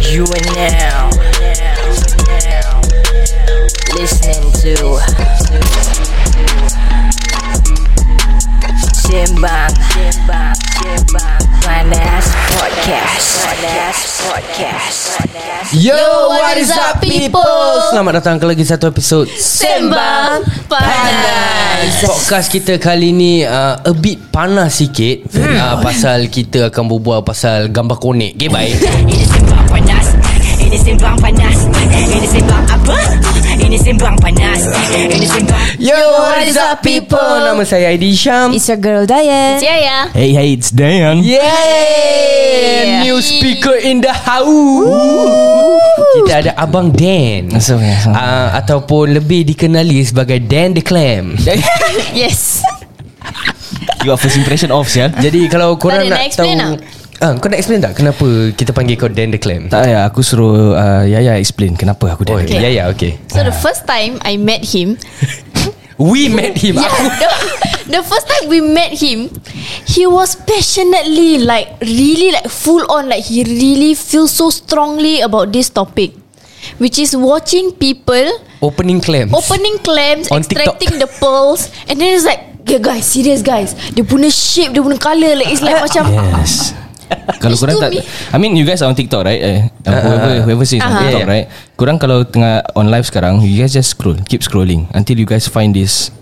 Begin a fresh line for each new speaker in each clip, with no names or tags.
You are now listening to Simbang Simbang Simbang Panas Podcast Panas Podcast
Yo, what is up people? Selamat datang ke lagi satu episod
Sembang Panas
Podcast kita kali ni uh, A bit panas sikit hmm. uh, Pasal kita akan berbual pasal gambar konek Okay baik
Ini Simbang Panas Ini Simbang Panas Ini Simbang apa? Ini Simbang Panas Ini Simbang
Yo, what is up people? Nama saya Aidy Syam
It's your girl Diane
Ya ya
Hey, hey, it's Dan.
Yay! New speaker in the house Kita ada Abang Dan
So, yeah, so.
uh, Ataupun lebih dikenali sebagai Dan The Clam
Yes
you are first impression of sial.
Jadi kalau korang
Tadi nak
nak tahu
explain tak?
Ah, kau nak explain tak kenapa kita panggil kau Dan The Clam?
Tak ya, aku suruh uh, Yaya explain kenapa aku
Oh,
dia.
okay. ya ya okay.
So the first time I met him
We met him.
yeah,
Aku
the, the first time we met him He was passionately Like really like full on Like he really feels so strongly About this topic Which is watching people
opening clams.
Opening clams
On
Extracting the pearls And then it's like Yeah guys Serious guys Dia punya shape Dia punya colour Like it's like macam
Yes. kalau
It's
korang
to
tak
me.
I mean you guys are on TikTok right eh, uh, Whoever, whoever says on
Uh-huh.
TikTok
Yeah, yeah.
right Korang kalau tengah on live sekarang You guys just scroll Keep scrolling Until you guys find this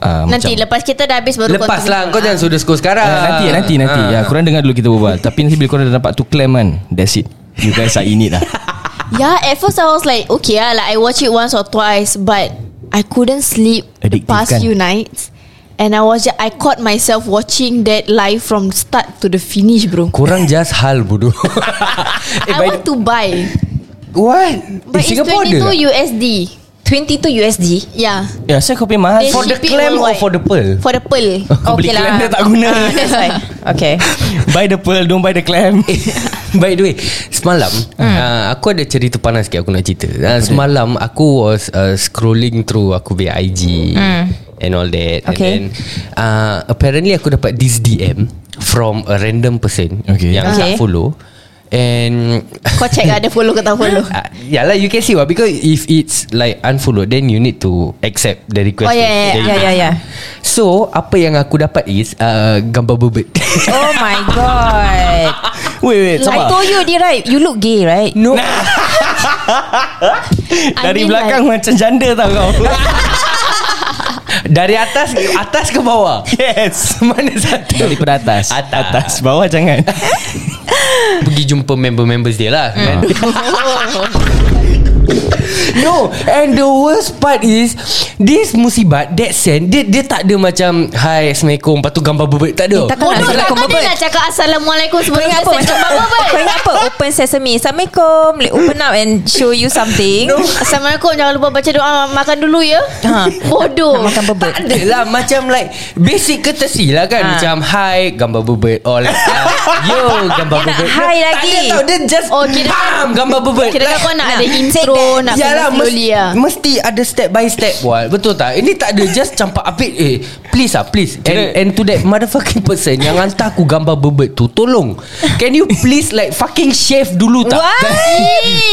uh,
Nanti
macam,
lepas kita dah habis Baru
Lepas
continue.
lah Kau jangan suruh skor sekarang
Ah, Nanti ya nanti nanti ya, Korang dengar dulu kita berbual Tapi nanti bila korang dah dapat tu claim kan That's it You guys are in it lah
Yeah, Ya, at first I was like, okay lah, like I watch it once or twice, but I couldn't sleep the
Addictive,
past
kan?
few nights. And I was just, I caught myself watching that live from start to the finish,
Eh,
bro.
Korang just hal bodoh Eh,
I want to
Eh,
buy,
What?
but it's 22 USD.
22 USD
Yeah,
Ya saya kau punya mahal
They
For the
ship it
clam or
worldwide.
for the pearl?
for the pearl.
Kau beli
Okay lah.
claim dia tak guna
That's why Okay
Buy the pearl Don't buy the clam
Eh, By the way Semalam
Hmm.
uh, Aku ada cerita panas sikit Aku nak cerita uh, Semalam Aku was uh, Scrolling through Aku punya IG
Hmm.
And all that And then
Okay.
uh, Apparently aku dapat This DM From a random person
Okay.
Yang
Okay.
tak follow And
Kau check lah, ada follow ke tak follow.
Uh, yeah lah you can see what Because if it's like unfollowed Then you need to accept the request
Oh, yeah, yeah,
Then you
Ya ya ya
So apa yang aku dapat is uh, Gambar bebet
Oh my god
Wait wait
I
sabar
told Oh, you already right You look gay right
No
I
Dari
mean,
belakang
Like,
macam janda tau kau
Dari atas Atas ke bawah
Yes
Mana satu
Daripada atas
Atas.
Atas Bawah jangan
Pergi jumpa member-members dia lah kan? No And the worst part is This musibat That send Dia, dia tak ada macam Hai Assalamualaikum Lepas tu gambar bebek Tak ada Oh,
Eh, takkan
Bodoh lah,
Assalamualaikum,
kau
Bobot.
tadi nak cakap Assalamualaikum
Kau
sebelum
ingat apa
kita
macam
cakap apa
Kau ingat apa Open sesame Assalamualaikum Let open up and show you something
Assalamualaikum, jangan lupa baca doa makan dulu ya.
Ha.
Bodoh.
Nak makan bebek
Tak ada lah Macam like Basic courtesy lah kan
Ha.
Macam hi Gambar bebek Or like uh, Yo Gambar
Dia nak
bebek
hi
Tak
lagi.
ada tau Dia just
Oh,
oh,
kira-
Bam Gambar bebek
Kira kau nak ada
Take
intro, nak kena slowly
mesti,
lah.
mesti ada step by step buat Betul tak? Ini tak ada just campak apit Eh please lah please and,
Kira-
and to that motherfucking person Yang hantar aku gambar bebek tu Tolong Can you please like fucking shave dulu tak?
What?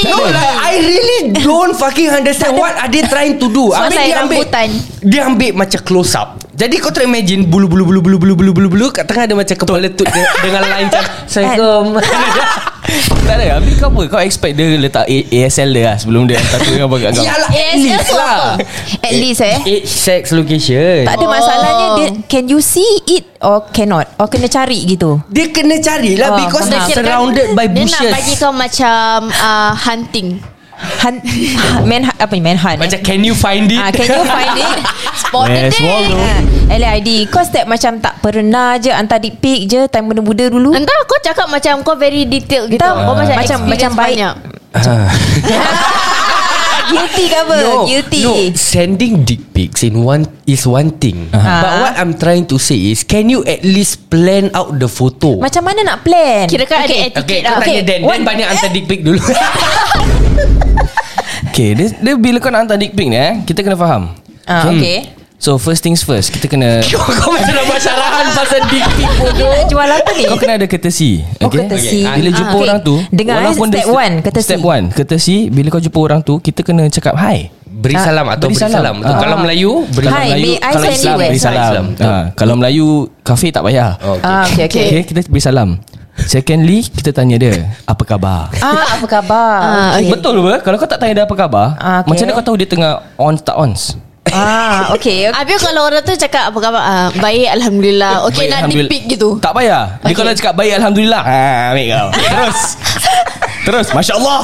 No like I really don't fucking understand What are they trying to do?
Soal
Habis
saya
dia ambil
rambutan.
Dia ambil macam close up Jadi kau try imagine Bulu bulu bulu bulu bulu bulu bulu bulu Kat tengah ada macam kepala tut de- Dengan line macam Assalamualaikum
Tak ada Habis kau apa Kau expect dia letak A- ASL dia lah Sebelum dia hantar tu Kau bagi kau
Yalah at
ASL
least
tu
lah Ah,
apa?
At least eh
Age, sex, location
Tak ada
Oh.
masalahnya dia, Can you see it Or cannot Or kena cari gitu
Dia kena carilah
Oh,
Because
faham.
they're surrounded by
Dia nak
bushes
bagi kau macam uh, hunting
Hunt Man apa ni Man hunt eh?
Macam can you find it
Ah, can you find it?
Spotted
Where's
day
Waldo?
Ha, LID Kau step macam tak pernah je Hantar deep pic je Time benda-benda dulu
Entah kau cakap macam kau very detailed gitu
Entah,
Kau macam
macam-
experience
macam baik.
banyak.
Guilty ke apa
No,
Guilty
no, sending dick pics in one is one thing.
Uh-huh.
But what I'm trying to say is, can you at least plan out the photo?
Macam mana nak plan
Kira kan ada
okay,
etiquette
kau
lah
tanya
okay.
Dan. Dan banyak hantar dick pic dulu.
Okay dia, dia bila kau nak hantar dick pic ni eh Kita kena faham
Ah, okay.
So first things first Kita kena
Kau macam nak buat syarahan Pasal dick pic bodoh
Nak jual apa ni?
Kau kena ada courtesy
Oh, courtesy.
Okay. Bila
Ah,
jumpa
okay.
orang tu
Dengar, eh,
walaupun
step
dia-
one, courtesy.
Step one Courtesy Bila kau jumpa orang tu Kita kena cakap hi
Beri salam atau beri
beri salam.
salam Betul,
Ah.
Kalau Melayu Beri
Hi,
salam
may I
Kalau
send
Islam
you
Beri
west?
salam
Islam.
Ah, Kalau Melayu Kafe tak payah
Oh, okay.
Ah, okay, okay.
okay. okay Kita beri salam Secondly Kita tanya dia Apa khabar
Ah, apa khabar?
Ah,
okay.
Eh, Betul ke? Kalau kau tak tanya dia apa khabar
Ah, okay.
Macam mana kau tahu dia tengah On tak ons
Ah, okay. okay.
Habis kalau orang tu cakap apa khabar? Ah, baik alhamdulillah. Okey
Baik,
nak
Alhamdulillah.
dipik gitu.
Tak payah Dia
Okay.
kalau cakap baik Alhamdulillah ha, Ambil kau Terus Terus Masya Allah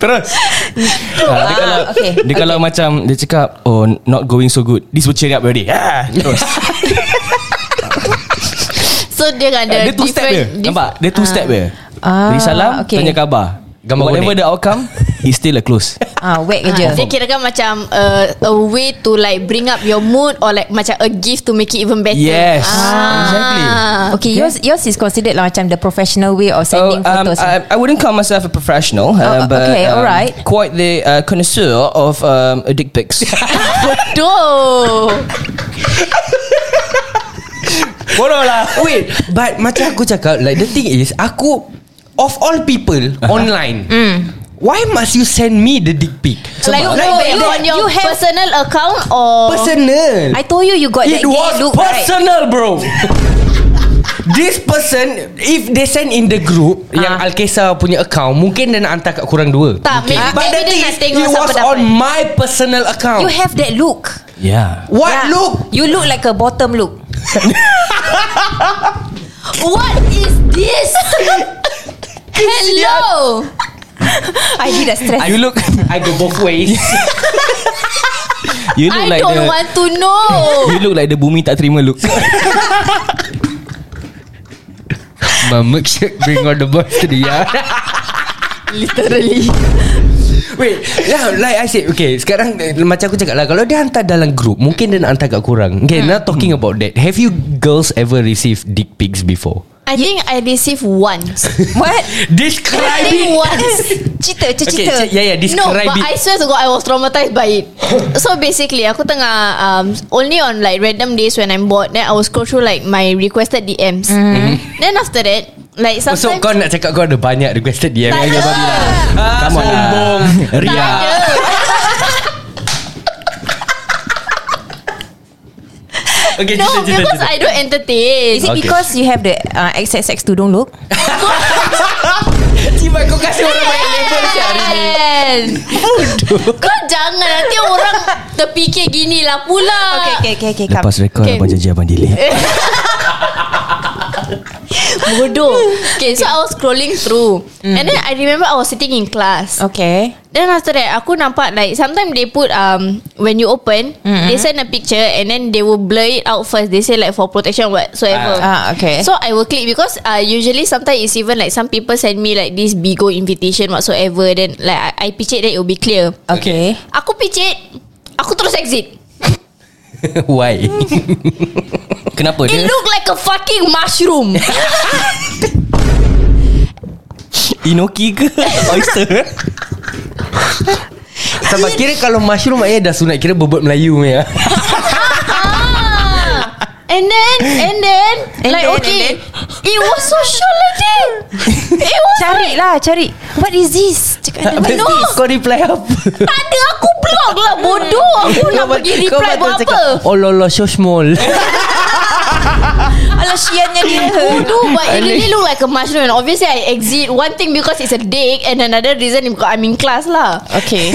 Terus ha, Dia
Ah,
kalau
okay.
okay. Dia kalau macam Dia cakap Oh not going so good This will cheer you up already ha, Terus
So dia kan ada
Dia two step dia
different-
Nampak Dia two
Ah.
step dia
Ah,
Beri salam
okay.
Tanya khabar
Gambar
Whatever
bonek.
the outcome It's still a close
Ah, whack
Ah,
kerja.
Dia kira kan macam uh, A way to like Bring up your mood Or like macam a gift To make it even better
Yes
Ah.
Exactly
Okay, yours yours is considered lah macam the professional way of sending
um,
photos.
I, I wouldn't call myself a professional, uh,
Oh,
but
okay,
um,
alright.
quite the uh, connoisseur of um, dick pics.
Doh
Bodoh lah.
Wait But macam aku cakap Like the thing is Aku Of all people Online Why must you send me the dick pic
Hmm. Like, you,
Like
you,
that-
on your
you have-
personal account Or
Personal
I told you you got that
It
gay
was
look, right?
personal bro This person If they send in the group Yang Alkesa punya account Mungkin dia nak hantar kat korang dua
Ah. Tak,
Mungkin.
maybe-
But
maybe
the
dia
thing
nak
is
tengok
It
siapa
was
dapat.
on my personal account
You have that look.
Yeah.
What
Yeah.
look
You look like a bottom look.
What is this? Hello
I did a stress.
You look,
I go both ways
you
I
look like
don't
the,
want to know
you look like the bumi tak terima look.
Mama should bring on the boys to the yard
Literally
Wait yeah, Like I said Okay sekarang eh, Macam aku cakap lah Kalau dia hantar dalam group Mungkin dia nak hantar kat korang Okay now talking about that Have you girls ever received dick pics before?
I think I received once
What?
I
Describe
think
it
once
Cerita, cerita.
Okay, cik- yeah, yeah, describe
no, but
it.
I swear to God, I was traumatized by it. so basically, aku tengah um, only on like random days when I'm bored. Then I will scroll through like my requested DMs. Then after that, like sometimes.
Mm-hmm. Oh, So kau nak cakap kau ada banyak requested eh, DM
Tak ada. Ah,
Come on lah.
Tak
Ria.
ada.
Okay,
No, because I don't entertain.
Is it
Okay.
because you have the uh, XXX tudung look?
Cibat kau kasih orang banyak label siap hari ni
Kan? Kau jangan Nanti orang Terfikir gini lah pula
Okay, okay, okay, okay. Come.
Lepas rekod
Okay.
abang janji abang delay.
Bodoh Okay so I was scrolling through
Mm.
And then I remember I was sitting in class
Okay.
Then after that Aku nampak like Sometimes they put um When you open mm-hmm. They send a picture And then they will blur it out first They say like for protection Whatsoever
Ah. Ah, okay.
So I will click Because uh, usually Sometimes it's even like Some people send me like This bigo invitation Whatsoever Then like I, I picit Then it will be clear
Okay.
Aku picit Aku terus exit
Why?
Kenapa
It
dia?
look like a fucking mushroom
Inoki ke oyster?
Sebab kira kalau mushroom Ayah dah sunat Kira bobot Melayu punya
Ah. And then And then
And
Like
then, and
okay
then.
It was so short like that It was
Cari lah, cari. What is this? Cakap
Habis
No.
Kau reply apa?
Tak ada aku block lah Bodoh Aku nak
Kau
pergi
betul- kau
reply
betul
buat apa
cakap, Oh lolo so small
Alah siannya dia.
Bodoh But it really look like a mushroom And obviously I exit One thing because it's a dick And another reason is Because I'm in class lah
Okay.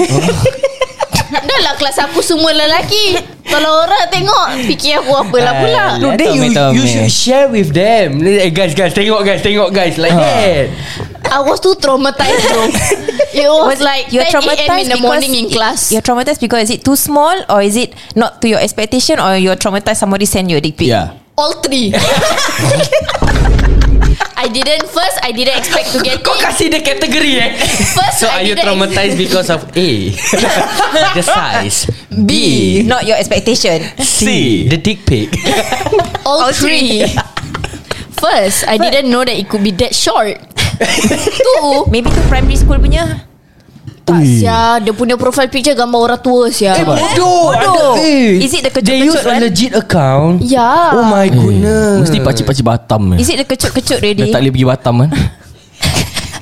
Dah lah kelas aku semua lelaki Kalau orang tengok Fikir aku apalah pula
Alah.
No Eh, then you,
Tommy,
you
Tommy.
should share with them Eh, Guys guys Tengok guys Tengok guys Like that
I was too traumatized bro It was, like 10 am
you're
in
traumatized
the
because
morning in class
You're traumatized because is it too small or is it not to your expectation or you're traumatized somebody send you a dick pic?
yeah.
All three I didn't First I didn't expect to get
Kau
it
kasih dia kategori eh So
First
are
I
you
didn't
traumatized Because of A The size
B. Not your expectation.
C.
The dick pic
All,
All
three. First, I didn't know that it could be that short. Two,
Maybe tu primary school punya.
Tak
Ui.
sia Dia punya profile picture Gambar orang tua sia
Eh, bodoh,
Bodoh.
ada eh.
Is it the
They use
kecut-kecut
a
one?
legit account
Ya
Oh my goodness
Hmm. Mesti pakcik-pakcik Batam
Is it the kecut-kecut
Dah
ready?
tak boleh pergi Batam kan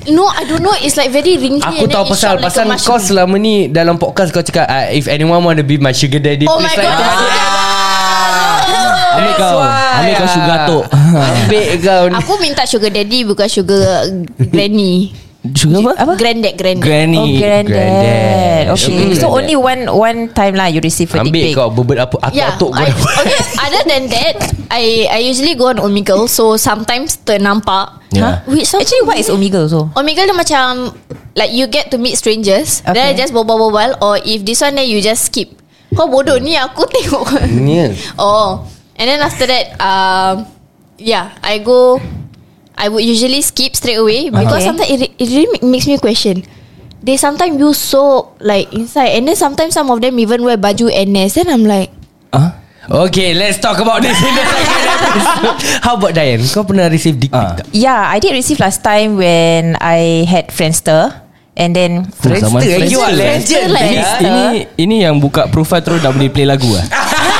No I don't know It's like very wrinkly
Aku
and then
tahu
it's
pasal
shaped like
Pasal
a
kau
mushroom.
selama ni Dalam podcast kau cakap uh, If anyone want to be my sugar daddy
Oh my
please
god
like
Ambil kau Ambil kau sugar tok
Ambil kau ni.
Aku minta sugar daddy Bukan sugar granny
Sugar apa?
Apa? Granddad
Oh,
Granddad
Granny
Oh granddad
Granddad.
Okay
Mm.
So only one One time lah You receive a dick
Ambil
pic
kau berbet apa Aku
Yeah,
atuk kau
Ya, I, okay. Other than that, I I usually go on Omegle, so sometimes ternampak.
Yeah.
Which some-
Actually what is Omegle so?
Omegle dia macam like you get to meet strangers, okay. then
Okay.
just bobal-bobal or if this one then you just skip. Kau bodoh ni aku tengok.
Ni.
oh, and then after that, um, yeah, I go. I would usually skip straight away because
Okay.
sometimes it, re- it really ma- makes me question. They sometimes use soap like inside, and then sometimes some of them even wear baju NS. Then I'm like.
Huh?
Okay let's talk about this in the second episode How about Diane Kau pernah receive dick pic
Ah.
tak?
Yeah I did receive last time When I had Friendster And then
Friendster,
Friendster eh, You are legend
Friendster.
Friendster,
Ini,
eh?
Diane.
ini ini yang buka profile terus dah boleh play lagu ah.
I,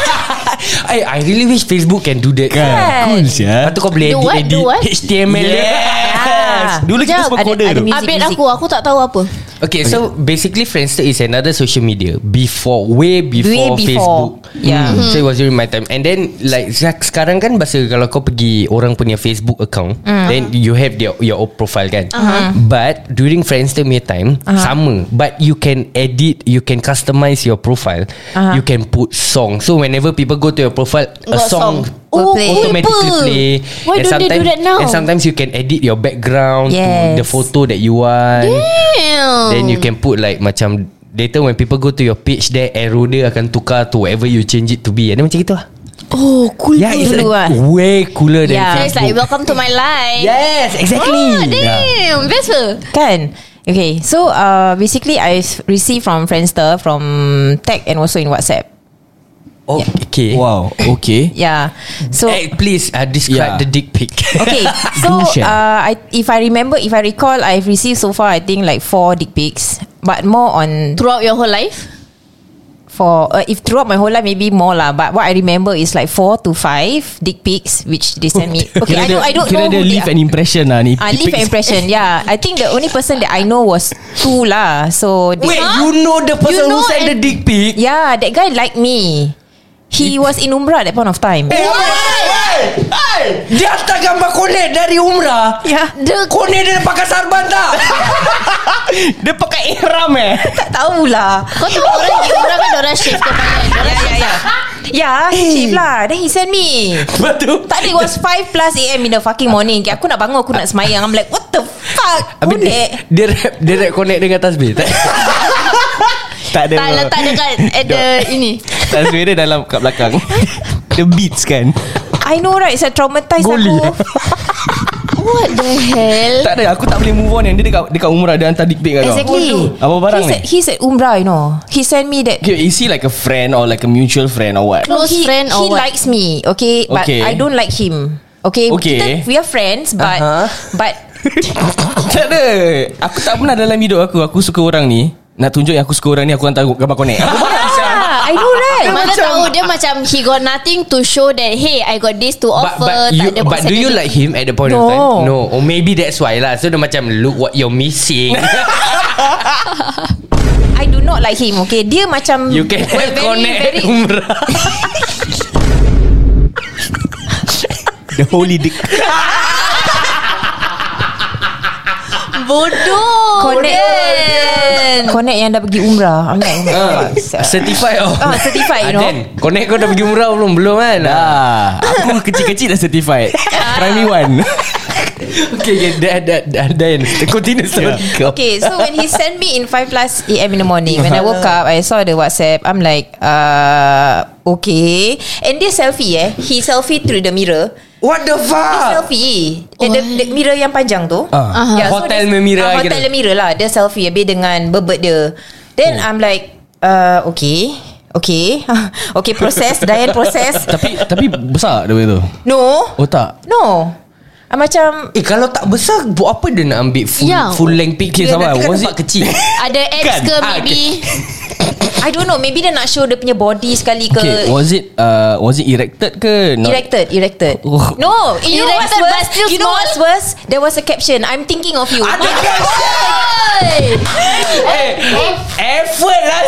Eh, I really wish Facebook can do that
Cool sia.
Lepas tu kau boleh
Do what,
edit,
do what?
edit HTML dia
Yes.
Dulu kita
Jap,
semua
Ah. ada-
kode
ada
tu.
music,
Update
music.
aku Aku tak tahu apa
Okay, so basically Friendster is another social media before way before,
Way before.
Facebook. Mm.
Yeah.
So it was during my time. And then like sek- sekarang kan bahasa kalau kau pergi orang punya Facebook account, then you have their your own profile kan. But during Friendster punya time sama, but you can edit, you can customize your profile. You can put song. So whenever people go to your profile, a
Got
song,
song.
Oh,
automatically
people.
play.
Eh, Why
and
don't they do
sometimes-
that now?
And sometimes you can edit your background
Yes.
to the photo that you want.
Damn
Then you can put like Macam Later when people go to your page there Arrow dia akan tukar to Whatever you change it to be And then macam gitu lah
Oh cool
Yeah it's
dulu
like
ah.
Way cooler than
Yeah.
So
yeah.
it's like
Facebook
Welcome to my life
Yes exactly
Oh damn Best lah
Kan Okay So uh, basically I s- received from Friendster From Tech And also in Whatsapp
Oh, Okay
Wow, okay.
Yeah So
Eh, please uh, describe
Yeah.
the dick pic
Okay So
Do share.
uh, I, If I remember If I recall I've received so far I think like Four dick pics But more on
Throughout your whole life
For uh, If throughout my whole life Maybe more lah But what I remember Is like four to five Dick pics Which they send me Okay I don't, I don't
kira
know
dia
who they
leave
are.
an impression lah ni.
I leave an impression Yeah I think the only person That I know was Two lah So they-
Wait you know the person
know
Who sent the
and-
dick pic
Yeah Ya, that guy like me He was in Umrah At that point of time
Eh, hey, hey, hey. Dia hantar gambar konek dari umrah
Yeah
The
Konek dia pakai sarban tak?
Dia pakai ihram eh.
Tak tahulah Ya,
Kau tahu orang Di orang kan orang shift kepala Dorang
Yeah yeah yeah Yeah Chief lah Then he send me
Lepas tu
Tak it was 5 plus AM in the fucking morning Okay, Aku nak bangun Aku nak semayang I'm like what the fuck
Habis dia,
Konek
dia rap Dia rap connect dengan tasbih tak?
Tak ada.
Tak letak dekat At the ini
Tasbih dia dalam kat belakang. The beats kan.
I know right Saya traumatized
Goli.
aku
What the hell
Tak ada, aku tak boleh move on yang dia dekat dekat umrah dia hantar dick pic kat kau.
Exactly
Apa barang
he
ni?
said, he said Umrah you know He sent me that
Okay, is he like a friend or like a mutual friend or what?
No. Close
he,
friend or
he
what?
likes me okay but
Okay.
I don't like him okay,
Okay.
Kita, we are friends but
Uh-huh.
but
tak ada. Aku tak pernah dalam hidup aku aku suka orang ni. Nak tunjuk yang aku suka orang ni aku hantar gambar connect. Apa barang sia?
yeah, Ah, I know right
Mana tahu dia macam He got nothing to show that Hey I got this to
But,
offer
but,
Tak
you,
ada
but do you
personality.
like him at the point of
No.
time? No. Or maybe that's why lah. So dia macam look what you're missing.
I do not like him okay dia macam
you can have connect
very,
umrah.
The holy dick.
Bodoh
connect
Dan.
connect yang dah pergi umrah I'm like oh my
Ah,
uh,
God, sia.
certified oh.
Ah, certified, you know.
Aden, connect kau dah pergi umrah belum? Belum kan? Ah.
Ah, aku kecil-kecil dah certified. Ya, Primary one.
Okay, okay. That, that, that, then continue
Ya.
story kau.
Okay, so when he sent me in 5 plus AM in the morning, when I woke up, I saw the WhatsApp. I'm like, uh, okay. And this selfie eh, he selfie through the mirror.
What the fuck?
selfie oh. the, the mirror yang panjang tu
Ah.
Hotel
dia-
mirror I
ah, Hotel
kira.
mirror lah Dia selfie Habis dengan bebet dia Then I'm like uh, Okay Okay Okay proses Diane proses
tapi tapi besar dia punya tu.
No
Oh tak.
No Ah, Macam
Eh kalau tak besar Buat apa dia nak ambil Full,
Ya.
full length picture
Okay, sabar.
Nanti kan
Was
nampak
it-
kecil
Ada ex
Kan?
ke
Ah,
maybe
I don't know Maybe dia nak show Dia punya body sekali ke
Okay, was it uh, was it erected ke? Not?
Erected Erected
Oh.
No You know what's
Erected, but
worse
still
You know
small?
what's worse There was Ah, a caption I'm thinking of you
Ada Eh Effort lah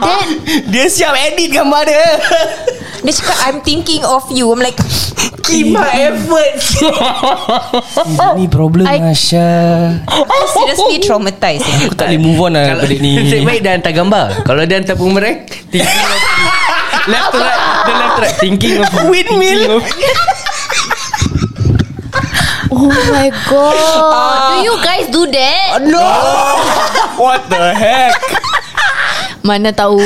Then
Dia siap edit gambar dia.
Dia cakap I'm thinking of you I'm like
Kima effort Oh.
Ini problem
I-
Asha.
I'm seriously traumatized eh.
Aku tak boleh move on lah daripada ni.
Nasib baik dia hantar gambar Kalau dia hantar bumerang Thinking of you Left to right The left to right Thinking of you Windmill
Oh my
Ah.
god Do you guys do that?
No. What the heck?
Mana tahu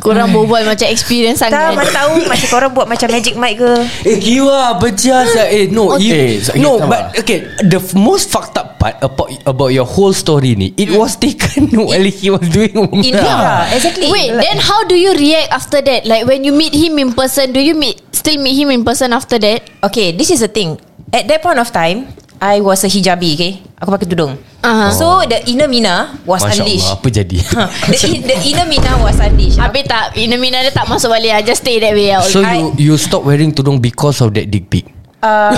Korang berbual macam experience
Tak
sangat
mana tahu Macam korang buat macam magic mic ke
Eh kiwa Pecah sah Eh no
Okay.
you,
Eh, so-
No
okay,
but Okay The f- most fucked up part About, about your whole story ni It was taken While he was doing
In
umrah
yeah. Ah, Exactly
Wait then how do you react after that Like when you meet him in person Do you meet still meet him in person after that
Okay, this is the thing. At that point of time, I was a hijabi, okay? Aku pakai tudung.
Aha.
Uh-huh. So the inner Mina was
Masya
unleashed.
Allah Apa jadi
the, in- the inner Mina was unleashed.
Habis tak Ina Mina dia tak masuk balik I just stay that way out.
So you you stop wearing tudung Because of that dick pic
Uh,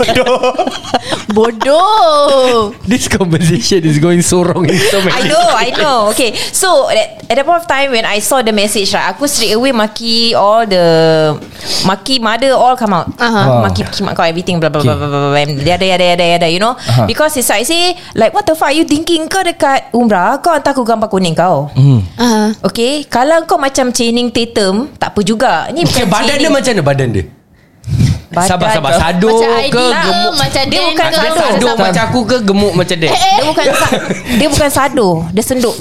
no.
Bodoh
This conversation is going so wrong in so many
I know, I know. Okay, so at, at that point of time when I saw the message, right, aku straight away maki all the maki mother all come out.
Aha.
Uh-huh. Maki maki mak kau everything blah blah
Ah. Okay.
blah blah blah. blah, blah yada yada yada yada. You know,
Aha.
uh-huh. because it's like I say like what the fuck you thinking kau dekat umrah kau hantar aku gambar kuning kau.
Mm-hmm.
Uh-huh.
uh,
Okay Kalau kau macam Channing Tatum Tak apa juga Ni
Okay
bukan
badan dia
Channing-
macam mana badan dia
Badan
Sabar sabar
dia-
Sado
Macam
ke
ID lah
gemuk
Macam
Dia
Dan
bukan
ke
Dia
Sado.
sado
Sabar.
macam aku ke Gemuk macam dia
Dia bukan sa- Dia bukan sado Dia senduk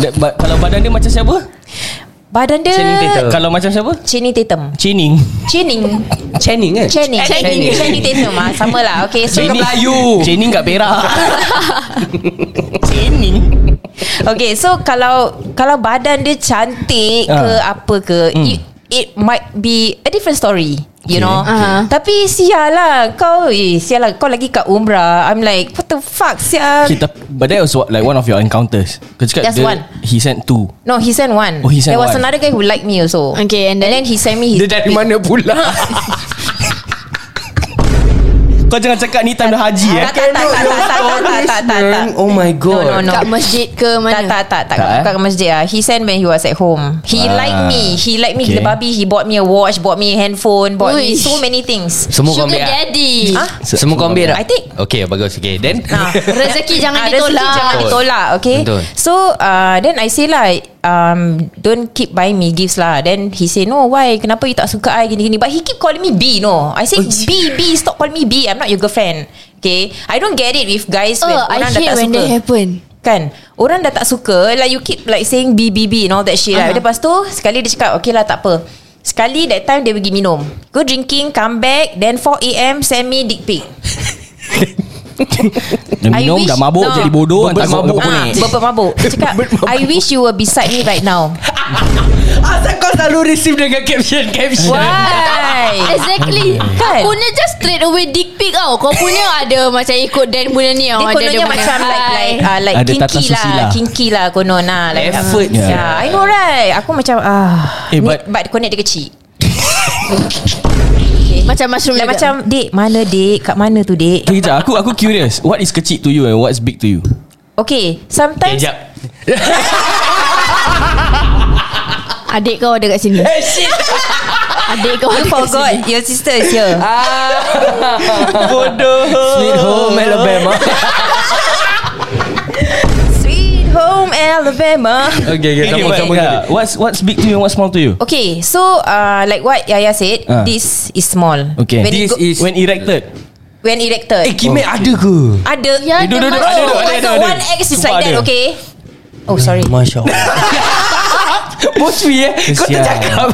Da- ba- Kalau badan dia macam siapa?
Badan dia
Channing Tatum.
Kalau macam siapa?
Channing Tatum
Chining.
Channing
Channing kan
Channing Channing
Channing.
Channing Tatum ah, Sama lah Okay so
Channing. Melayu.
Chining kat Perak. Chining.
Okay so kalau Kalau badan dia cantik Ke
Ah.
apa ke it, it might be A different story You
Okay.
know
Ah.
Tapi sial lah Kau eh, Sial lah Kau lagi kat umrah I'm like What the fuck sial
Kita, but that was what, like one of your encounters. Kau cakap
Just
dia,
one.
he sent two.
No, he sent one.
Oh, he sent
There was
one.
another guy who liked me also.
Okay, and
and then he sent me his.
Dia dari mana pula
Kau jangan cakap ni time dah haji eh.
Ah, tak, tak, tak, tak, tak, tak, tak, tak, tak, tak, tak.
Oh my god
No.
Kat masjid ke
Tak,
mana
tak, tak, tak.
Tak, eh?
Bukan kat masjid ah. He sent when he was at home. He
Ah.
liked me. He liked me
Okay.
gila babi. He bought me a watch, bought me a handphone, bought
Uish.
me so many things.
Semua kau
Sugar
ambil ah?
daddy
Ah?
Semua kau ambil tak?
I take.
Okay bagus Okay then
Ah.
Rezeki jangan
Ah,
ditolak.
Rezeki jangan ditolak, okay?
Betul.
So, uh, then I say lah, um, don't keep buying me gifts lah. Then he say, no, why? Kenapa you tak suka I gini-gini? But he keep calling me B, no. I say, B, B, stop calling me B. I'm not your girlfriend. Okay? I don't get it with guys when
Oh I
orang dah
hate
tak
when
suka.
that happen
Kan Orang dah tak suka Like you keep like saying B B B And all that shit uh-huh.
Uh-huh.
Lepas tu Sekali dia cakap Okay lah tak apa Sekali that time dia pergi minum Go drinking Come back Then 4am Send me dick pic
Dia
I
minum
wish-
dah mabuk
no.
jadi bodoh
Berbet
hantar kau
mabuk.
gambar
ah,
kuning.
Berapa mabuk Dia cakap I wish you were beside me right now
Asal kau selalu receive dengan caption Caption
Why
Exactly Eh, Kau
Kan?
punya just straight away Dick pic tau Kau punya ada Macam ikut Dan punya ni tau.
Oh, Dia
Ada-
kononnya
ada
macam
mana.
like like
Hi.
uh, like
Ada tata
kinky lah,
susila.
kinky lah konon lah like
Effort
yeah.
sia.
yeah. I know right. Aku macam ah.
Eh,
Eh,
but-
but, but connect dia kecil.
Macam mushroom
Like
juga.
macam Dek mana dek Kat mana tu dek
Okay, kejap. Aku aku curious. What is kecil to you and what's big to you?
Okay Sometimes
Kejap
Adik kau ada kat sini
Eh shit
Adik kau ada kat
You
sini Ah.
forgot Your sister is here
Bodoh.
Sweet home Alabama
Sweet home Alabama
Okay okay
Okay,
Sambung
but,
sambung
yeah, what's what's big to you and what's small to you?
Okay so uh, Like what Yaya said
Ah.
This is small
Okay.
When,
This
it go,
is
When erected.
when erected
Eh Kimek ada ke
Ada
Ya, Eh, duduk, dia duduk, masuk. ada,
ada,
duduk,
Oh my
ada,
God,
ada.
One X is
Sumpah
like that
ada. Hmm,
okay Oh sorry
Masya Allah Boswi eh Kau
Kesian.
tercakap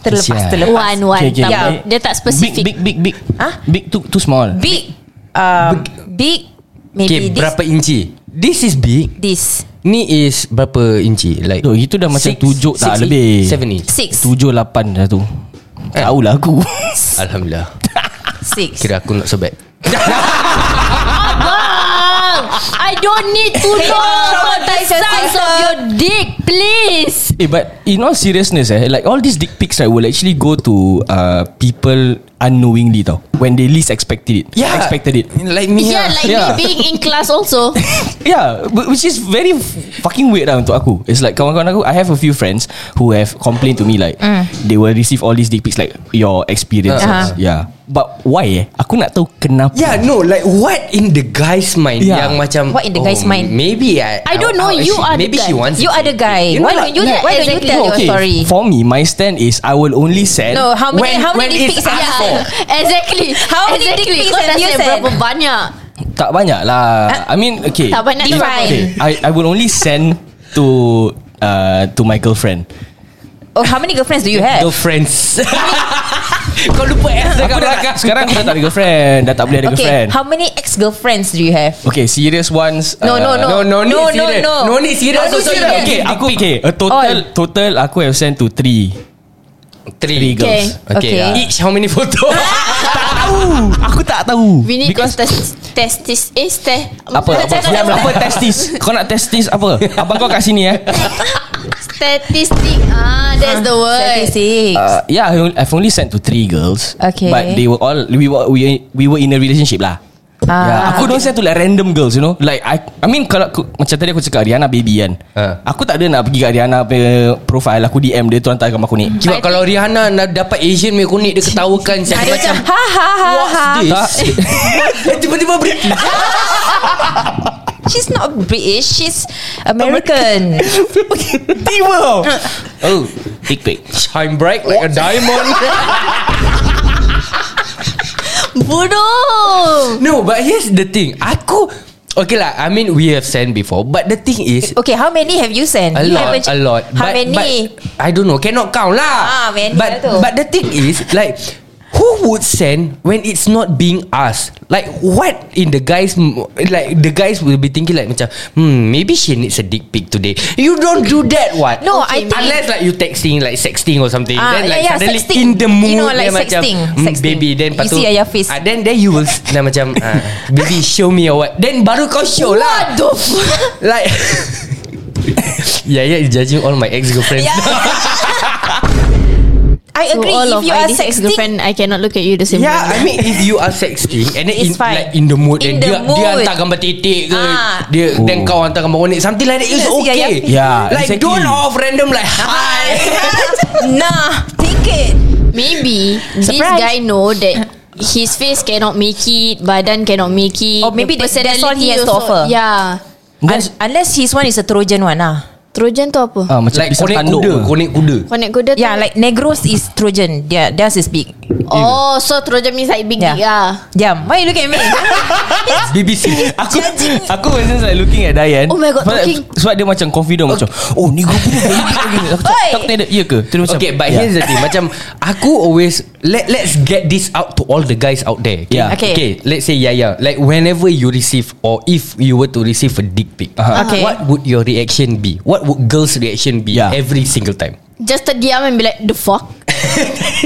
Terlepas
Sial.
terlepas
One one
Okay, okay.
tak
Yeah.
apa. Dia tak
Big
spesifik
big big big.
Ah?
Big to too small.
Big uh, Big
Okay
Maybe this
berapa inci This is big
This
Ni is berapa inci Like
Duh, itu dah macam tujuk tak lebih.
Seven inch
Six
Tujuh lapan dah tu Tahu lah aku
Alhamdulillah
Six
Kira aku not so bad
Abang Ah, I don't need to know about the size of your dick Please
Eh but in all seriousness eh Like all these dick pics right Will actually go to uh, People unknowingly tau When they least expected it Expected it
Ya. Like me
Yeah,
lah.
like
Yeah.
me being in class also
Yeah but- Which is very f- Fucking weird lah untuk aku It's like kawan-kawan aku I have a few friends Who have complained to me like They will receive all these dick pics Like your experiences
Mm. Uh-huh.
Yeah But why eh Aku nak tahu kenapa
Yeah Ya, no Like what in the guy's mind
Yeah.
Yang macam oh,
What in the guy's mind?
Maybe I
I don't know,
I-
you
she-
are the
Maybe
guy.
she wants
You
it.
are the guy
You know,
Why
like-
don't you
Yeah,
Why don't you
exactly.
tell your story
Oh, For me My stand is I will only send
No how many
When-
How
when
many
it's
pics are
asked for.
there?
Exactly
How many dick
exactly.
pics
Kau
have
dah
you
send
sent?
berapa banyak
Tak banyak lah
Eh,
I mean okay
Tak banyak
Define.
berapa?
Okay, I I will only send to uh, to my girlfriend.
Oh how many girlfriends do you have
Girlfriends Kau lupa S dekat
Aku dah,
belakang
sekarang aku dah tak ada girlfriend, dah tak boleh ada
Okay
girlfriend.
How many ex-girlfriends do you have
Okay, serious ones. uh,
No, no,
No no need
No, no,
serious
no.
No need serious
No need
So, so,
serious.
Okay, aku okay. A total
All.
total aku have sent to three.
Three
Okay. ah.
Okay,
Okay.
Each how many photo
tak tahu. Aku tak tahu.
We need
Because
Because testis Eh teh
apa apa diam lah. apa testis kau nak testis apa abang kau kat sini eh
Statistic Ah that's the word
Statistics
uh, yeah I on- I've only sent to three girls
Okay.
but they were all we were we, we were in a relationship lah
Ah.
Yeah, aku don't send to like random girls you know Like I I mean kalau aku, Macam tadi aku cakap Rihanna baby kan
Ah.
Aku tak ada nak pergi kat Rihanna punya Profile aku DM dia tu hantar gambar kuning
Sebab kalau Rihanna nak dapat Asian punya kunik Dia ketawakan Saya macam
Ha ha ha ha
Tak
Tiba-tiba British
She's not British She's American
Tiba tau
Oh Big big Shine bright like a diamond
Bodoh
No but here's the thing Aku Okay lah I mean we have sent before But the thing is
Okay how many have you sent
A
You
lot
haven't-
A lot
How
but,
many
but, I don't know Cannot count lah
Ah, many
But
lah tu.
but the thing is Like Who would send when it's not being asked? Like what in the guys like the guys will be thinking like macam hmm maybe she needs a dick pic today. You don't do that what?
No, I think-
unless like you texting like sexting or something.
Ah,
then
yeah,
like
yeah,
suddenly
sexting.
in the mood
You know, like
then
sexting,
macam "Hmm,
sexting.
baby then
You see Ayah face.
Ah, then then you will then macam ah, baby show me or what? Then baru kau show lah.
What the fuck
Like Yeah yeah it's judging all my ex-girlfriends
Yeah. I
To
agree
all of
If you
my
are
this
sexting
ex-girlfriend I cannot look at you the same
Yeah,
way
I mean if you are sexting and then in,
It's fine.
like in the mood and
In the
dia
mood.
dia hantar gambar titik ke
Ah.
dia
Oh.
then kau hantar gambar unik something like that is
Yeah, see, yeah,
okay.
yeah. Yeah,
like
exactly.
don't off random like hi.
Nah Take it
Maybe This
Surprise.
guy know that His face cannot make it Badan cannot make it
Or maybe
the
that- that's all
personality
he has to
also-
offer.
Yeah
That's,
Unless his one is a Trojan one ah.
Trojan tu apa?
ah, Macam
like
pisang
konek
tanduk
kuda,
ke.
konek kuda.
Connect kuda tu
Yeah like Negros is Trojan Their, Theirs is big
Oh so Trojan means like big yeah.
Yeah.
dick ah.
Diam Why you look at me
BBC Aku Aku was like looking at Diane
Oh my God,
sebab,
talking.
sebab dia macam confident Macam Oh ni gua punya baby gila gini." Aku cakap
Oi.
Tak ada Iya ke Terus macam ya.
Okay but here's the thing Macam Aku always let, Let's get this out To all the guys out there okay?
Yeah.
Okay.
okay Let's say yeah yeah Like whenever you receive Or if you were to receive A dick pic
Uh-huh.
Okay.
What would your reaction be What would girls reaction be
Yeah.
Every single time
Just terdiam and be like The fuck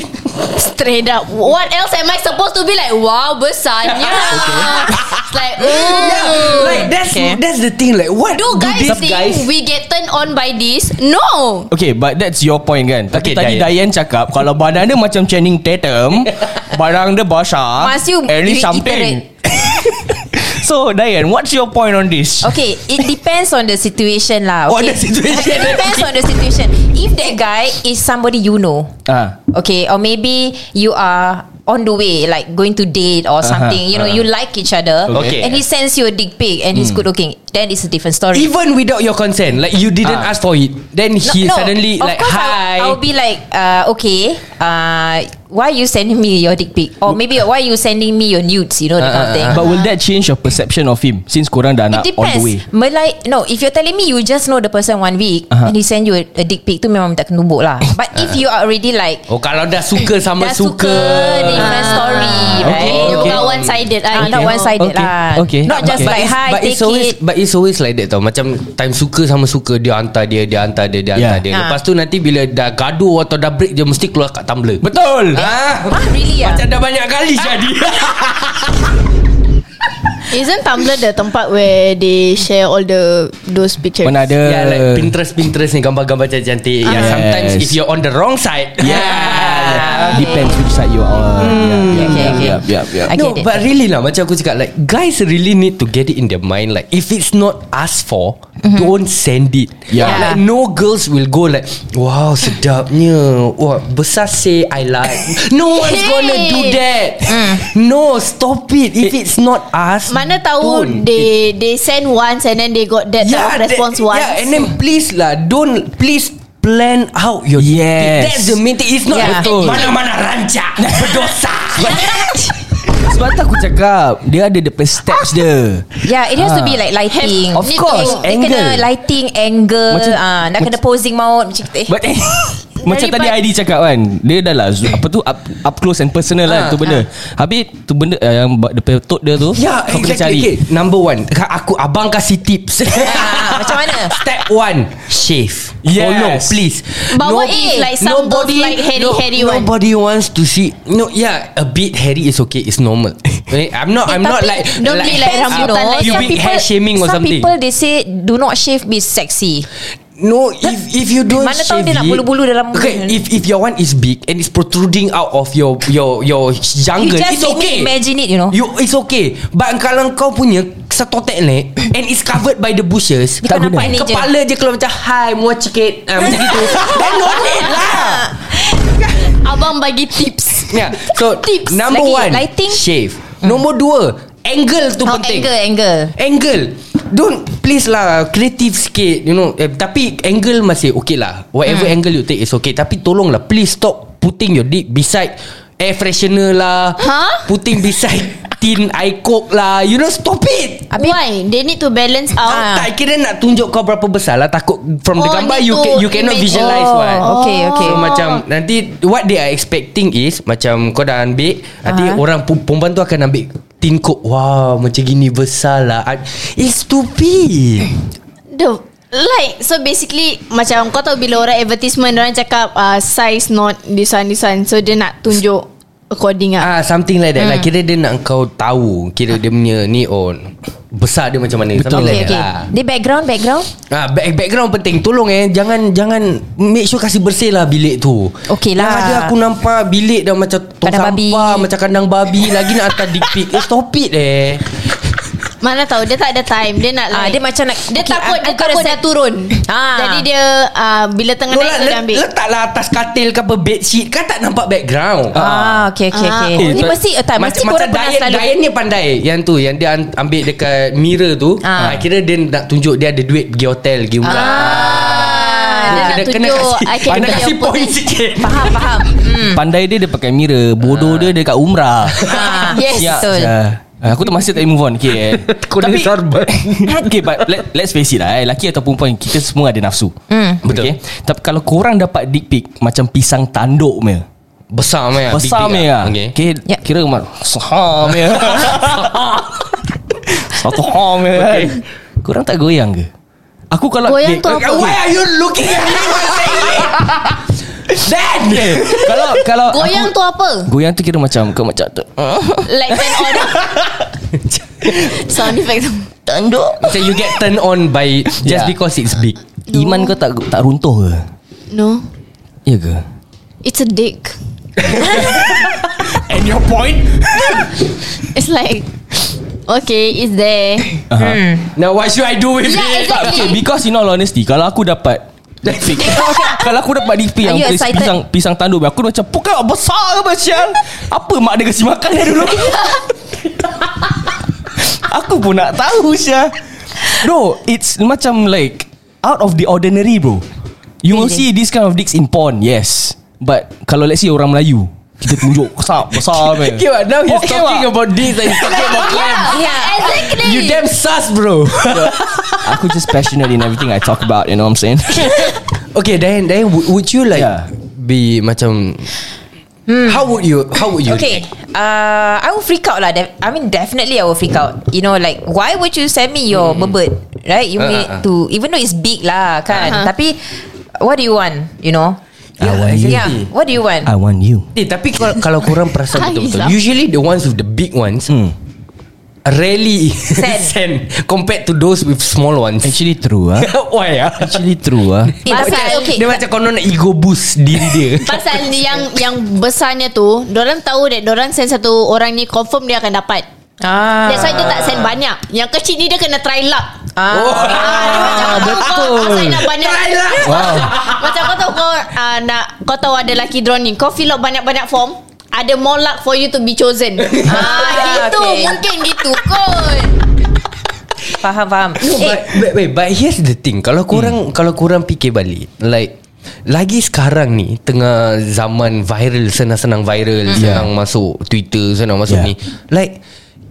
Straight up What else am I supposed to be like Wow besarnya It's like mm.
Like that's
Ya. Okay.
That's the thing Like what
Do guys
these
think we get turned on by this? No
Okay but that's your point kan
Okay,
Tapi tadi
Diane.
Diane cakap Kalau badan dia macam Channing Tatum Barang dia basah
Must you
At least
reiterate?
something So Diane What's your point on this
Okay It depends on the situation lah
Oh, the
okay?
situation.
It depends on the situation If that guy Is somebody you know
Ah,
Okay, or maybe you are on the way, like going to date or something. you know, you like each other,
Uh-huh, Okay. Hmm.
and he sends you a dick pic, and he's good looking. Then it's a different story.
Even without your consent Like you didn't
Ah.
ask for it Then he suddenly
of
Like
course
hi
I'll, I'll be like, uh, okay, uh, why you sending me your dick pic, or maybe why you sending me your nudes? You know that kind of thing.
But will that change your perception of him Since korang dah
Uh,
nak
It
on the way
depends Malay, No if you're telling me You just know the person one week
Aha.
Uh-huh.
And he send you a, a dick pic Tu memang tak kena numbuk lah But if you are already like
Oh kalau dah suka sama
Dah
suka
suka different story,
Okay,
right?
okay.
Not one sided
Ah, Not one sided
Okay,
lah.
okay.
Not just like
it's-
hi,
but
take
it's always,
it.
But it's always like that tau Macam time suka sama suka Dia hantar dia Dia hantar dia Dia hantar
Yeah.
dia
Ah.
Lepas tu nanti bila dah gaduh Atau dah break Dia mesti keluar kat Tumblr
Betul.
Ah,
Ah, really ah?
Macam dah banyak kali jadi
Isn't Tumblr the tempat where they share all the those pictures?
Pernah ada
Yeah like Pinterest-Pinterest ni Gambar-gambar cantik-cantik yeah,
Yes.
Sometimes if you're on the wrong side Ah.
Yeah. Hmm, Depends which side you are on. Yeah,
Okay,
yeah,
okay.
yeah, yeah, yeah.
I
No
get it.
but really lah Macam aku cakap like Guys really need to get it in their mind Like if it's not asked for Don't send it
Yeah.
Like no girls will go like Wow sedapnya Wah besar say I like No one's gonna do that No stop it If it's not asked
Mana tahu
don't.
they they send once and then they got that type of
that-
response once.
Yeah, and then please lah, don't please plan out your
Yes.
That's the main thing. It's not
Yeah.
betul. mana-mana rancak berdosa.
Sebab tu aku cakap Dia ada the steps dia
Yeah, it has to
Ah.
be like lighting.
Of
Need
course,
to- Dia
angle.
kena lighting, angle.
Macam-
ah, Nak kena posing maut. Macam eh.
But eh, Macam tadi
Daripada-
ID cakap kan Dia dah lah zo- Apa tu up, up close and personal lah
Ah,
Tu benda Habis tu benda uh, Yang buat the petot dia tu
Yeah,
kau kena
exactly. Okay, number one, Ka- aku abang kasih tips.
Ah, macam mana?
Step one, shave.
Yes.
Oh no, please.
But what if like some those like hairy hairy one?
Nobody wants to see. No, yeah, a bit hairy is okay. It's normal. I'm not. I'm not
Eh, tapi
like.
don't be like
uh,
rambutan, like
pubic hair shaming or
some
something.
people they say do not shave be sexy.
No, if if you don't
Mana tahu
shave
dia nak
it-
bulu-bulu dalam-
Okay, if if your one is big and it's protruding out of your your your
You
jungle, it's
just make me
okay.
imagine it, you know.
You it's okay. But kalau kau punya setotek ni and it's covered by the bushes,
Dia kau nampak ni je.
Kepala je keluar macam hi, muat cekit. Ah, macam gitu. Then no need lah.
Abang bagi tips.
Yeah. So
Tips.
number
Lagi,
one,
lighting.
shave. Nomor dua, angle tu
Oh,
penting.
angle, angle.
Angle Don't Please lah Creative sikit You know eh, Tapi angle masih okay lah Whatever hmm. angle you take is okay Tapi tolong lah Please stop Putting your dick beside Air freshener lah
Huh?
Putting beside Tin air coke lah You know stop it
Why? They need to balance
Ah.
out.
Tak kira nak tunjuk kau berapa besar lah Takut from the
Oh,
gambar
need
You
to
can, you cannot
imagine.
visualize
oh,
what
Okay, okay.
So macam Nanti What they are expecting is Macam kau dah ambil Nanti
Aha.
orang pu- Perempuan tu akan ambil Tin kok Wow macam gini besar lah I- It's stupid
The Like So basically Macam kau tahu Bila orang advertisement Orang cakap uh, Size not This one this one So dia nak tunjuk According lah
Ah, something like that. Hmm. Like kira dia nak kau tahu kira dia punya ni on besar dia macam mana. Betul. Ah. Something
Okay,
like
okay.
that. lah.
Dia background, background.
Ah, back, background penting. Tolong eh, jangan jangan make sure kasih bersih lah bilik tu.
Okey lah.
Yang ada aku nampak bilik dah macam tong
Kandang
sampah,
babi.
macam kandang babi lagi nak hantar dick pic. Eh, stop it eh.
Mana tahu Dia tak ada time Dia nak
Ah,
like
dia macam nak-
Dia
okay,
takut
I- I
Dia
got a
takut
set-
dah turun
Ah.
Jadi dia uh, Bila tengah
No lah,
naik Dia dah
let,
ambil Ah,
letaklah atas katil ke apa bed sheet kan tak nampak
Oh.
background.
Ah, okay, okay,
Ah,
okay.
okay. Eh,
Ni mesti a time.
Macam,
Mesti korang
macam
pernah
Diane,
selalu.
Diane ni pandai Yang tu Yang dia an- ambil dekat mirror tu
Ah.
ah. Kira dia nak tunjuk Dia ada duit Pergi hotel Pergi ulang
Ah, Dia nak tunjuk I can
Kena
be
kasih
your
point
potent-
sikit
Faham, faham.
Hmm.
cari Pandai dia dia pakai mirror Bodoh dia dia kat umrah
Ah,
Yes.
Ya,
Siap
betul.
sia. Ah, Aku tu masih tak boleh move on okay, eh. Tapi
sorban
Okay but let, Let's face it lah eh. Lelaki atau perempuan Kita semua ada nafsu
Hmm.
Mm.
Betul.
okay? Tapi kalau korang dapat dick pic Macam pisang tanduk punya
Besar meh
Besar me
lah.
ya.
ah. Okay
Okay.
Yep.
Kira mak saham ya. Satu ham ya. Okay. Korang tak goyang ke? Aku kalau
Goyang
Dek,
tu apa?
Why are you looking at me while saying it? Then
Dek, kalau kalau
Goyang
aku,
tu apa
Goyang tu kira macam kau macam tu.
Like turn on Sound effect tu
Tanduk.
So you get turned on by Just
Yeah.
because it's big
Iman kau tak tak runtuh ke?
No
Ya ke?
It's a dick
And your point?
It's like Okay It's there
Now what should I do with
Yeah,
it?
Okay,
exactly.
because in all honesty, kalau aku dapat dick pic, kalau aku dapat dick pic
Are
yang
you
tulis
excited?
pisang pisang tanduk, aku macam pukau besar ke macam. Apa mak dia kasi makan dia dulu? aku pun nak tahu Syah. No, it's macam like out of the ordinary, bro. You will see this kind of dicks in porn, yes. But kalau let's say orang Melayu, kita tunjuk besar besar man.
Okay what Now he's
Okay,
talking
what?
about this And he's talking
Ya,
about clam
Yeah.
Exactly
You damn sus bro
Aku just passionate in everything I talk about, you know what I'm saying?
Okay Diane, Diane would, would you like
Yeah.
Be macam
Hmm.
How would you How would you
Okay
react?
uh, I will freak out lah def- I mean definitely I will freak out You know like Why would you send me your bird Right You
Ah,
need
ah, ah.
to Even though it's big lah kan
Ah, ah.
Tapi What do you want You know
I want you.
Yeah What do you want
I want you.
Eh, tapi kalau, kalau korang
Ah,
perasan betul-betul
Izzah.
Usually the ones with the big ones
Hmm.
Rarely
Send.
send Compared to those with small ones
Actually true ah.
Why ah?
Actually true ah.
Eh,
Pasal-
okay, okay.
Dia macam konon nak ego boost diri dia
Pasal yang yang besarnya tu Diorang tahu that Diorang send satu orang ni Confirm dia akan dapat
ah.
That's why dia tak send banyak Yang kecil ni dia kena try luck
ah.
Oh.
Ah, dia macam tahu kau asal nak banyak
Try luck.
Wow.
Macam kau tahu kau ah, nak Kau tahu ada lelaki drone ni Kau fill up banyak-banyak form Ada more luck for you to be chosen ah, Gitu
okay.
Mungkin gitu kot
Faham faham
but,
Eh
but, but, but here's the thing Kalau korang hmm. Kalau korang fikir balik Like lagi sekarang ni Tengah zaman viral Senang-senang viral
Hmm.
Senang masuk Twitter Senang masuk
Yeah.
ni Like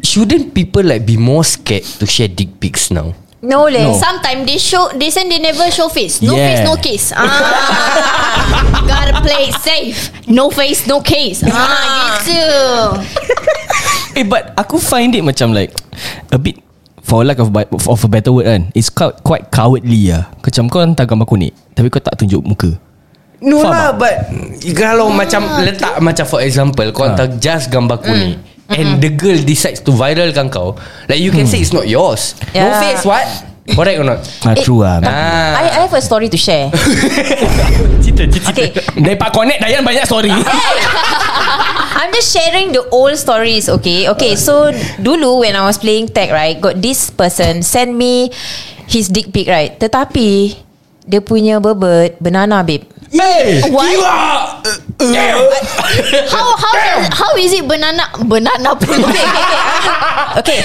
Shouldn't people like Be more scared To share dick pics now
No leh
No.
Sometimes they show They send they never show face No
Yeah.
face no case ah. Gotta play it safe No face no case ah, Gitu
Eh but aku find it macam like a bit for lack of bi- of a better word kan. It's quite, quite cowardly ah. Macam kau hantar gambar kuning tapi kau tak tunjuk muka.
No
Faham
lah But Kalau macam Letak macam for example Kau
Ah.
hantar just gambar
Mm.
kuning And the girl decides to viralkan kau Like you can say it's not yours No
Yeah.
face what Correct or not
Ah,
Eh,
true ah.
Ah.
I, I have a story to share Okay Ah,
Dapat connect Dayan banyak story.
I'm just sharing the old stories, okay? Okay, so dulu when I was playing tag, right, got this person send me his dick pic, right? Tetapi dia punya bebet banana babe.
Hey,
What?
Eh,
Eh,
How how how is it banana Banana pun
Okay, okay, okay. okay.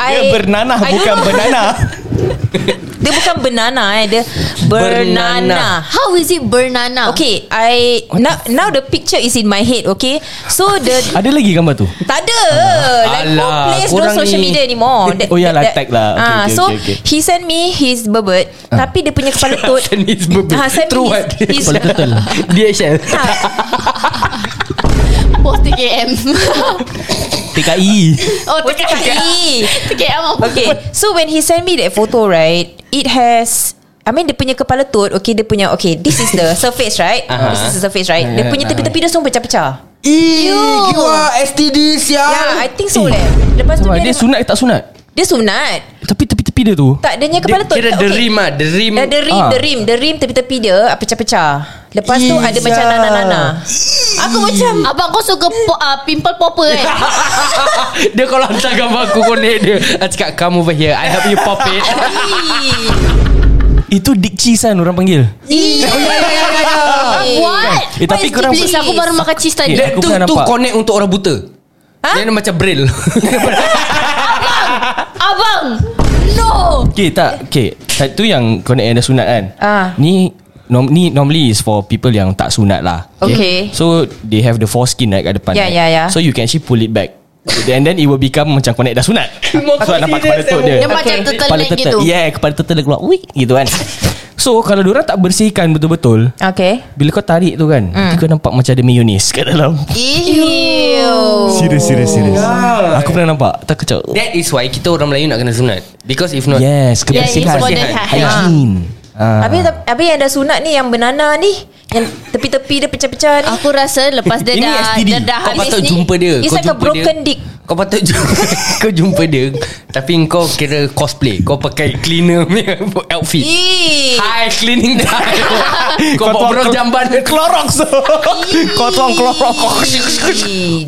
I,
Dia eh, bernanah
I don't
bukan
know.
banana.
Dia bukan banana, eh. Dia bernana.
Bernana.
How is it banana
Okay, I now, now the picture is in my head, okay? So the
Ada lagi gambar tu?
Tak ada Like who
Alah,
plays
korang
those social
ni.
media anymore
Oh, yalah, tag lah. Okay,
Ah,
okay,
So
okay, okay.
he sent me his bird Tapi dia punya kepala tut
Send his bubble
Ah, send me
Through what
his, his
Kepala turtle.
DHL
Post TKM
TKI.
Oh
Oh, TKI
TKM apa
Okay So when he sent me that photo right It has I mean dia punya kepala tut Okay dia punya Okay this is the surface right
Aha.
This is the surface right Dia punya tepi-tepi dia semua pecah-pecah
Eee, you are STD sial
Yeah I think so
Eh.
leh Lepas tu
Wah, dia
dia,
sunat ke tak sunat?
dia sunat
Tapi tepi-tepi dia tu.
Tak dia punya kepala tut Eh,
Kira
tak-
the rim ah The rim
Dah the rim,
Ah.
the rim, the rim tepi-tepi dia ah, pecah-pecah. Lepas tu ada macam
Izzah.
nana-nana. Aku macam
Abang kau suka po, uh, pimple popper eh
Ah, Dia kalau hantar gambar aku konek dia I cakap come over here I help you pop it
Itu dick cheese kan orang panggil.
What?
Eh, tapi
What is
korang-
this? Please aku baru makan cheese
Eh,
tadi
Dia
aku
tu,
pernah
tu
nampak.
connect untuk orang buta
Ha?
Dia macam braille
Abang No
Okay tak Okay Satu yang Connect yang dah sunat kan
Ah.
Ni norm, Ni normally is for people yang tak sunat lah
Okay.
So they have the foreskin right Kat depan
Yeah,
right?
yeah, yeah.
So you can actually pull it back And then it will become Macam connect dah sunat So nampak kepala
confidence
tut
Dia
dia
macam
Okay.
turtle
Kepala
neck
turtle
gitu
Yeah kepala turtle dia keluar Wih gitu kan So kalau diorang tak bersihkan betul-betul
Okay.
Bila kau tarik tu kan mm. Kau nampak macam ada mayonnaise kat dalam
Ew
Serius serius serius
Ya.
Aku pernah nampak Tak kacau
That is why kita orang Melayu nak kena sunat Because if not
Yes
Yeah, it's
kebersihan
for the
Kebersihan.
health.
Hygiene Ah.
Habis, habis yang dah sunat ni yang banana ni yang tepi-tepi dia pecah-pecah ni.
Aku rasa lepas dia
Ini
dah
STD.
Dia dah
Kau
habis
patut
ni
jumpa dia
It's
kau
like a
jumpa
broken dick.
Kau patut jumpa Kau jumpa dia Tapi kau kira cosplay Kau pakai cleaner punya outfit
Eh.
Hi cleaning time Kau bawa berang jamban
Clorox Kau tuang Clorox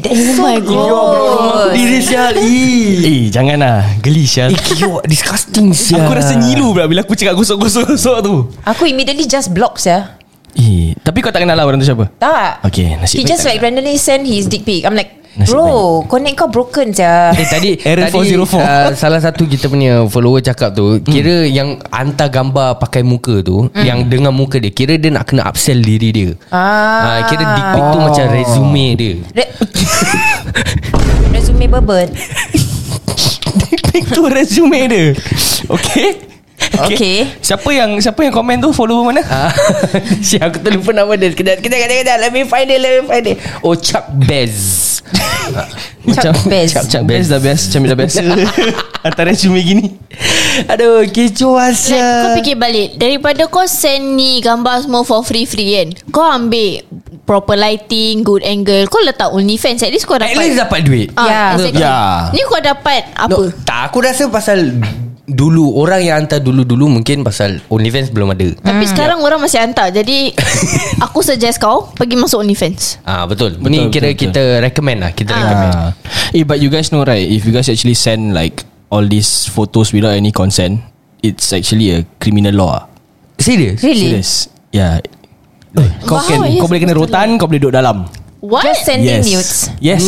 That's so
my
gross.
Diri sial Ih.
Eh jangan lah Geli Syah
Eh kiwa Disgusting sial
Aku rasa nyilu pula Bila aku cakap gosok-gosok-gosok tu
Aku immediately just block ya.
Eh Tapi kau tak kenal lah orang tu siapa
Tak.
Okay, nasib
He
baik
just
tak
like randomly send his dick pic. I'm like,
Nasib
bro, connect kau broken ya.
Eh tadi
Error
tadi,
404.
ah, Salah satu kita punya Follower cakap tu Kira yang Hantar gambar Pakai muka tu
Hmm.
Yang dengan muka dia Kira dia nak kena upsell diri dia
Ah.
Ah, Kira dick pic tu
Oh.
Macam resume dia
Re- Resume bebet.
Itu resume dia Okay
Okay.
Siapa yang Siapa yang komen tu Follow mana
Ah, si aku terlupa nama dia Kejap kejap kejap kejap Let me find it Let me find it Oh Chuck Bez
Chuck Bass.
Chuck, Chuck Bass dah biasa Macam dah biasa Hantar resume gini
Aduh kecoh
Like, kau
asya
fikir balik Daripada kau send ni Gambar semua for free-free kan Kau ambil Proper lighting Good angle Kau letak only fans At least kau
At
dapat
least dapat duit
Ah,
Yeah.
exactly.
Yeah.
Ni kau dapat Apa
No, tak aku rasa pasal Dulu Orang yang hantar dulu-dulu Mungkin pasal OnlyFans belum ada
Tapi
Ya.
sekarang orang masih hantar Jadi Aku suggest kau Pergi masuk OnlyFans
Ah betul.
Betul,
betul Ni
betul,
kira
betul.
kita recommend lah Kita recommend
ah. Eh but you guys know right If you guys actually send like All these photos Without any consent It's actually a criminal law
Serius?
Really?
Serious Yeah Eh, kau,
Wow,
can,
yes,
kau boleh kena rotan Kau boleh duduk dalam
What?
Just sending
Yes
nudes
Yes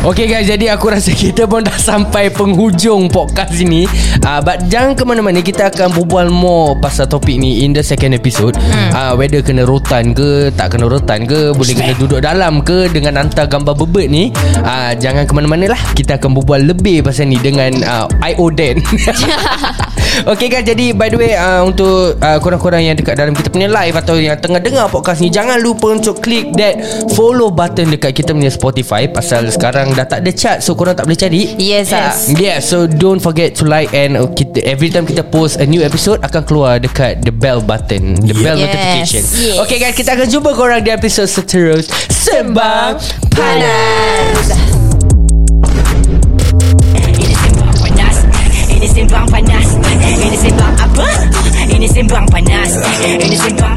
Okay guys Jadi aku rasa kita pun dah sampai Penghujung podcast ini uh, But jangan ke mana-mana Kita akan berbual more Pasal topik ni In the second episode hmm. uh, Whether kena rotan ke Tak kena rotan ke Boleh kena duduk dalam ke Dengan hantar gambar bebet ni uh, Jangan ke mana-mana lah Kita akan berbual lebih Pasal ni Dengan uh, I.O. Dan Okay guys Jadi by the way uh, Untuk uh, korang-korang yang dekat dalam kita punya live Atau yang tengah dengar podcast ni Jangan lupa untuk click that Follow button dekat kita punya Spotify Pasal sekarang dah tak ada chart So korang tak boleh cari
Yes, ah.
Yeah so don't forget to like And uh, kita, every time kita post a new episode Akan keluar dekat the bell button The bell
Yes.
notification
Yes.
Okay guys kita akan jumpa korang di episode seterus Sembang Panas
Ini sembang panas Ini sembang panas Ini sembang apa? Ini sembang panas Ini sembang